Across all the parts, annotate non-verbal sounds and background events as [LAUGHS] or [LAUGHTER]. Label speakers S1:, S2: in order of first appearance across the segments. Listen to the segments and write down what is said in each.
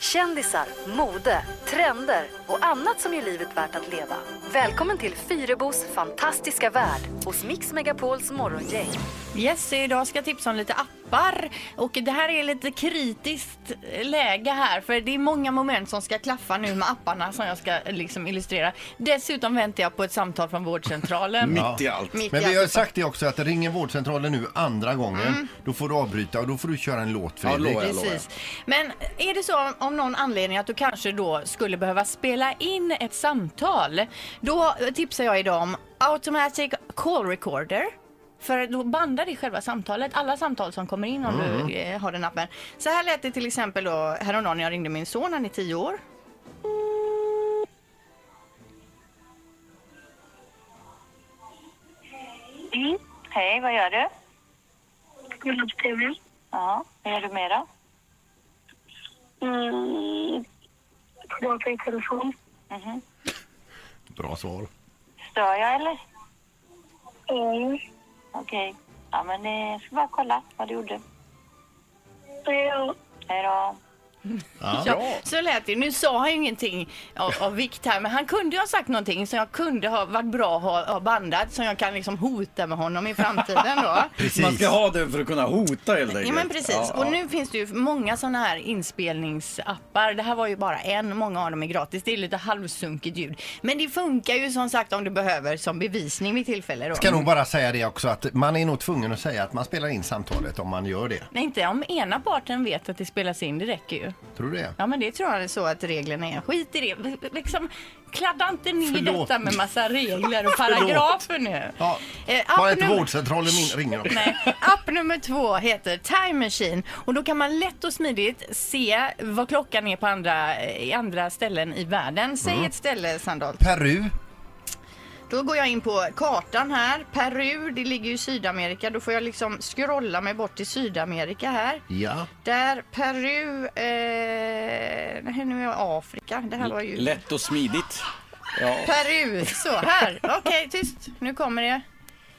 S1: Kändisar, mode, trender och annat som gör livet värt att leva. Välkommen till Fyrebos fantastiska värld hos Mix Megapols morgongäng.
S2: Yes, idag ska jag tipsa om lite appar. Och det här är lite kritiskt eh, läge här för det är många moment som ska klaffa nu med apparna som jag ska liksom illustrera. Dessutom väntar jag på ett samtal från vårdcentralen.
S3: Mitt i allt.
S2: Mitt
S4: Men
S2: i
S4: vi har
S2: allt.
S4: sagt det också att ringer vårdcentralen nu andra gången
S2: Mm.
S4: då får du avbryta och då får du köra en låt
S3: Ja,
S4: Fredrik.
S3: lovar jag.
S2: Precis. Men är det så om någon anledning att du kanske då skulle behöva spela in ett samtal, då tipsar jag idag om Automatic Call Recorder. För då bandar det själva samtalet, alla samtal som kommer in om du eh, har den appen. Så här lät det till exempel då häromdagen när jag ringde min son, han är 10 år.
S5: Mm. Hej, vad gör du?
S6: Kolla på TV.
S5: Ja, vad gör du mera?
S6: Mm. Prata i telefon.
S4: Bra svar.
S5: Stör jag eller?
S6: Mm.
S5: Okej. Ja, men eh, jag ska bara kolla vad du gjorde.
S6: Ja.
S5: Hej då.
S2: Ja, så lät det. Nu sa han ju ingenting av, av vikt här, men han kunde ju ha sagt någonting som jag kunde ha varit bra att ha, ha bandat, som jag kan liksom hota med honom i framtiden då.
S3: Man ska ha den för att kunna hota helt enkelt.
S2: Ja men precis.
S3: Ja, ja.
S2: Och nu finns det ju många sådana här inspelningsappar. Det här var ju bara en. Många av dem är gratis. Det är lite halvsunkigt ljud. Men det funkar ju som sagt om du behöver som bevisning vid tillfälle då.
S4: Ska nog bara säga det också att man är nog tvungen att säga att man spelar in samtalet om man gör det.
S2: Nej, inte om ena parten vet att det spelas in. Det räcker ju.
S4: Tror du det?
S2: Ja, men det tror jag är så att reglerna är. Skit i det. V- v- Liksom, kladda inte ner
S4: Förlåt.
S2: detta med massa regler och paragrafer nu.
S4: Ja.
S2: Eh,
S4: Bara
S2: app
S4: inte
S2: nummer-
S4: vårdcentralen min- ringer också.
S2: Nej. App nummer två heter Time Machine och då kan man lätt och smidigt se vad klockan är på andra, i andra ställen i världen. Säg
S3: Mm.
S2: ett ställe Sandal.
S4: Peru.
S2: Då går jag in på kartan här. Peru, det ligger ju i Sydamerika. Då får jag liksom scrolla mig bort till Sydamerika här. [LAUGHS]
S4: Ja.
S2: Där Peru, eh, nej, nu är jag i Afrika. Det här var ju...
S3: Lätt och smidigt. Ja.
S2: Peru, så här.
S3: [LAUGHS]
S2: Okej, tyst. Nu kommer det.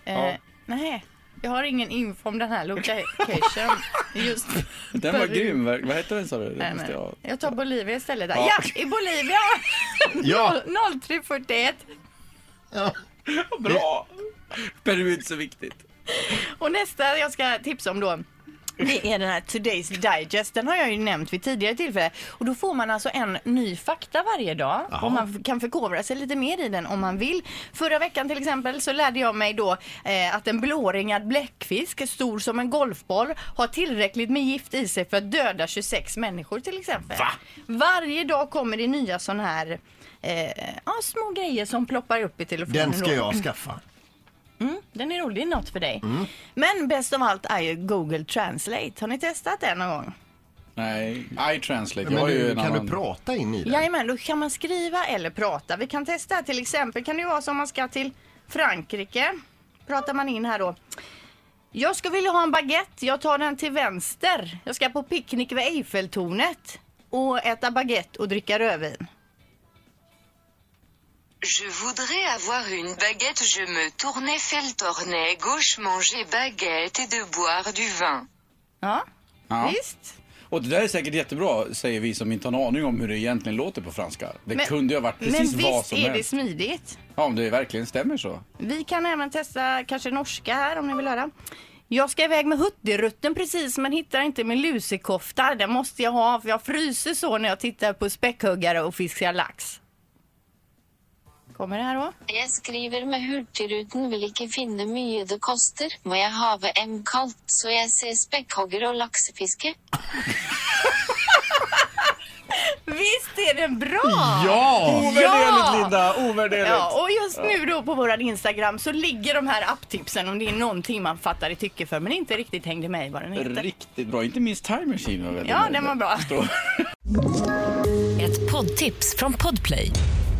S2: Eh,
S3: Ja.
S2: Nej, jag har ingen info om den här location. Just
S3: Den var
S2: Peru.
S3: grym. Vad vad heter den sa du?
S2: Nej,
S3: Den måste
S2: men
S3: jag-
S2: Jag tar Bolivia istället där.
S3: Ja.
S2: Ja, i
S3: [LAUGHS]
S2: Bolivia!
S4: Ja.
S2: 03.41.
S4: ja.
S3: Bra! Peru är inte så viktigt.
S2: Och nästa jag ska tipsa om då det är den här Today's Digest. Den har jag ju nämnt vid tidigare tillfälle. Och då får man alltså en ny fakta varje dag. Och man f- kan förkovra sig lite mer i den om man vill. Förra veckan till exempel så lärde jag mig då eh, att en blåringad bläckfisk, stor som en golfboll, har tillräckligt med gift i sig för att döda 26 människor till exempel. Varje dag kommer det nya sådana här eh, ja, små grejer som ploppar upp i telefonen.
S4: Den ska
S2: då.
S4: jag skaffa.
S2: Mm, Den är rolig, något för dig.
S3: Mm.
S2: Men bäst av allt är ju Google Translate. Har ni testat det någon gång?
S3: Nej, iTranslate. Jag
S4: Men
S3: har ju
S4: du,
S3: en
S4: kan
S3: annan...
S4: du prata in i den?
S2: Jajamän, då kan man skriva eller prata. Vi kan testa här till exempel. Kan det ju vara som om man ska till Frankrike. Pratar man in här då. Jag skulle vilja ha en baguette. Jag tar den till vänster. Jag ska på picknick vid Eiffeltornet och äta baguette och dricka rödvin.
S7: Je voudrais avoir une baguette, je me tournais, fait le tournais gauche, manger baguette et de boire du vin.
S2: Ja,
S3: Ja.
S2: visst.
S3: Och det där är säkert jättebra, säger vi som inte har en aning om hur det egentligen låter på franska. Det
S2: Men-
S3: kunde ju ha varit
S2: Men
S3: precis vad
S2: visst
S3: som
S2: är det
S3: helst.
S2: smidigt?
S3: Ja, om det verkligen stämmer så.
S2: Vi kan även testa kanske norska här om ni vill höra. Jag ska iväg med huttirutten precis men hittar inte min lusekofta. Den måste jag ha för jag fryser så när jag tittar på späckhuggare och fiskar lax. Kommer det här då?
S8: Jeg skriver med Hurtigruten vil ikke finne mye det koster, må jeg have M kaldt, så jeg ser spekkhogger og laksefiske.
S2: Visst är den bra!
S4: Ja!
S3: Ovärderligt Linda, ovärderligt!
S2: Ja, och just nu då på våran Instagram så ligger de här apptipsen om det är någonting man fattar i tycke för men inte riktigt hängde med i vad den heter.
S3: Riktigt bra, inte minst Time Machine var väldigt
S2: Ja,
S3: nöjd
S2: den var
S3: med.
S2: bra.
S3: Står-
S9: Ett poddtips från Podplay.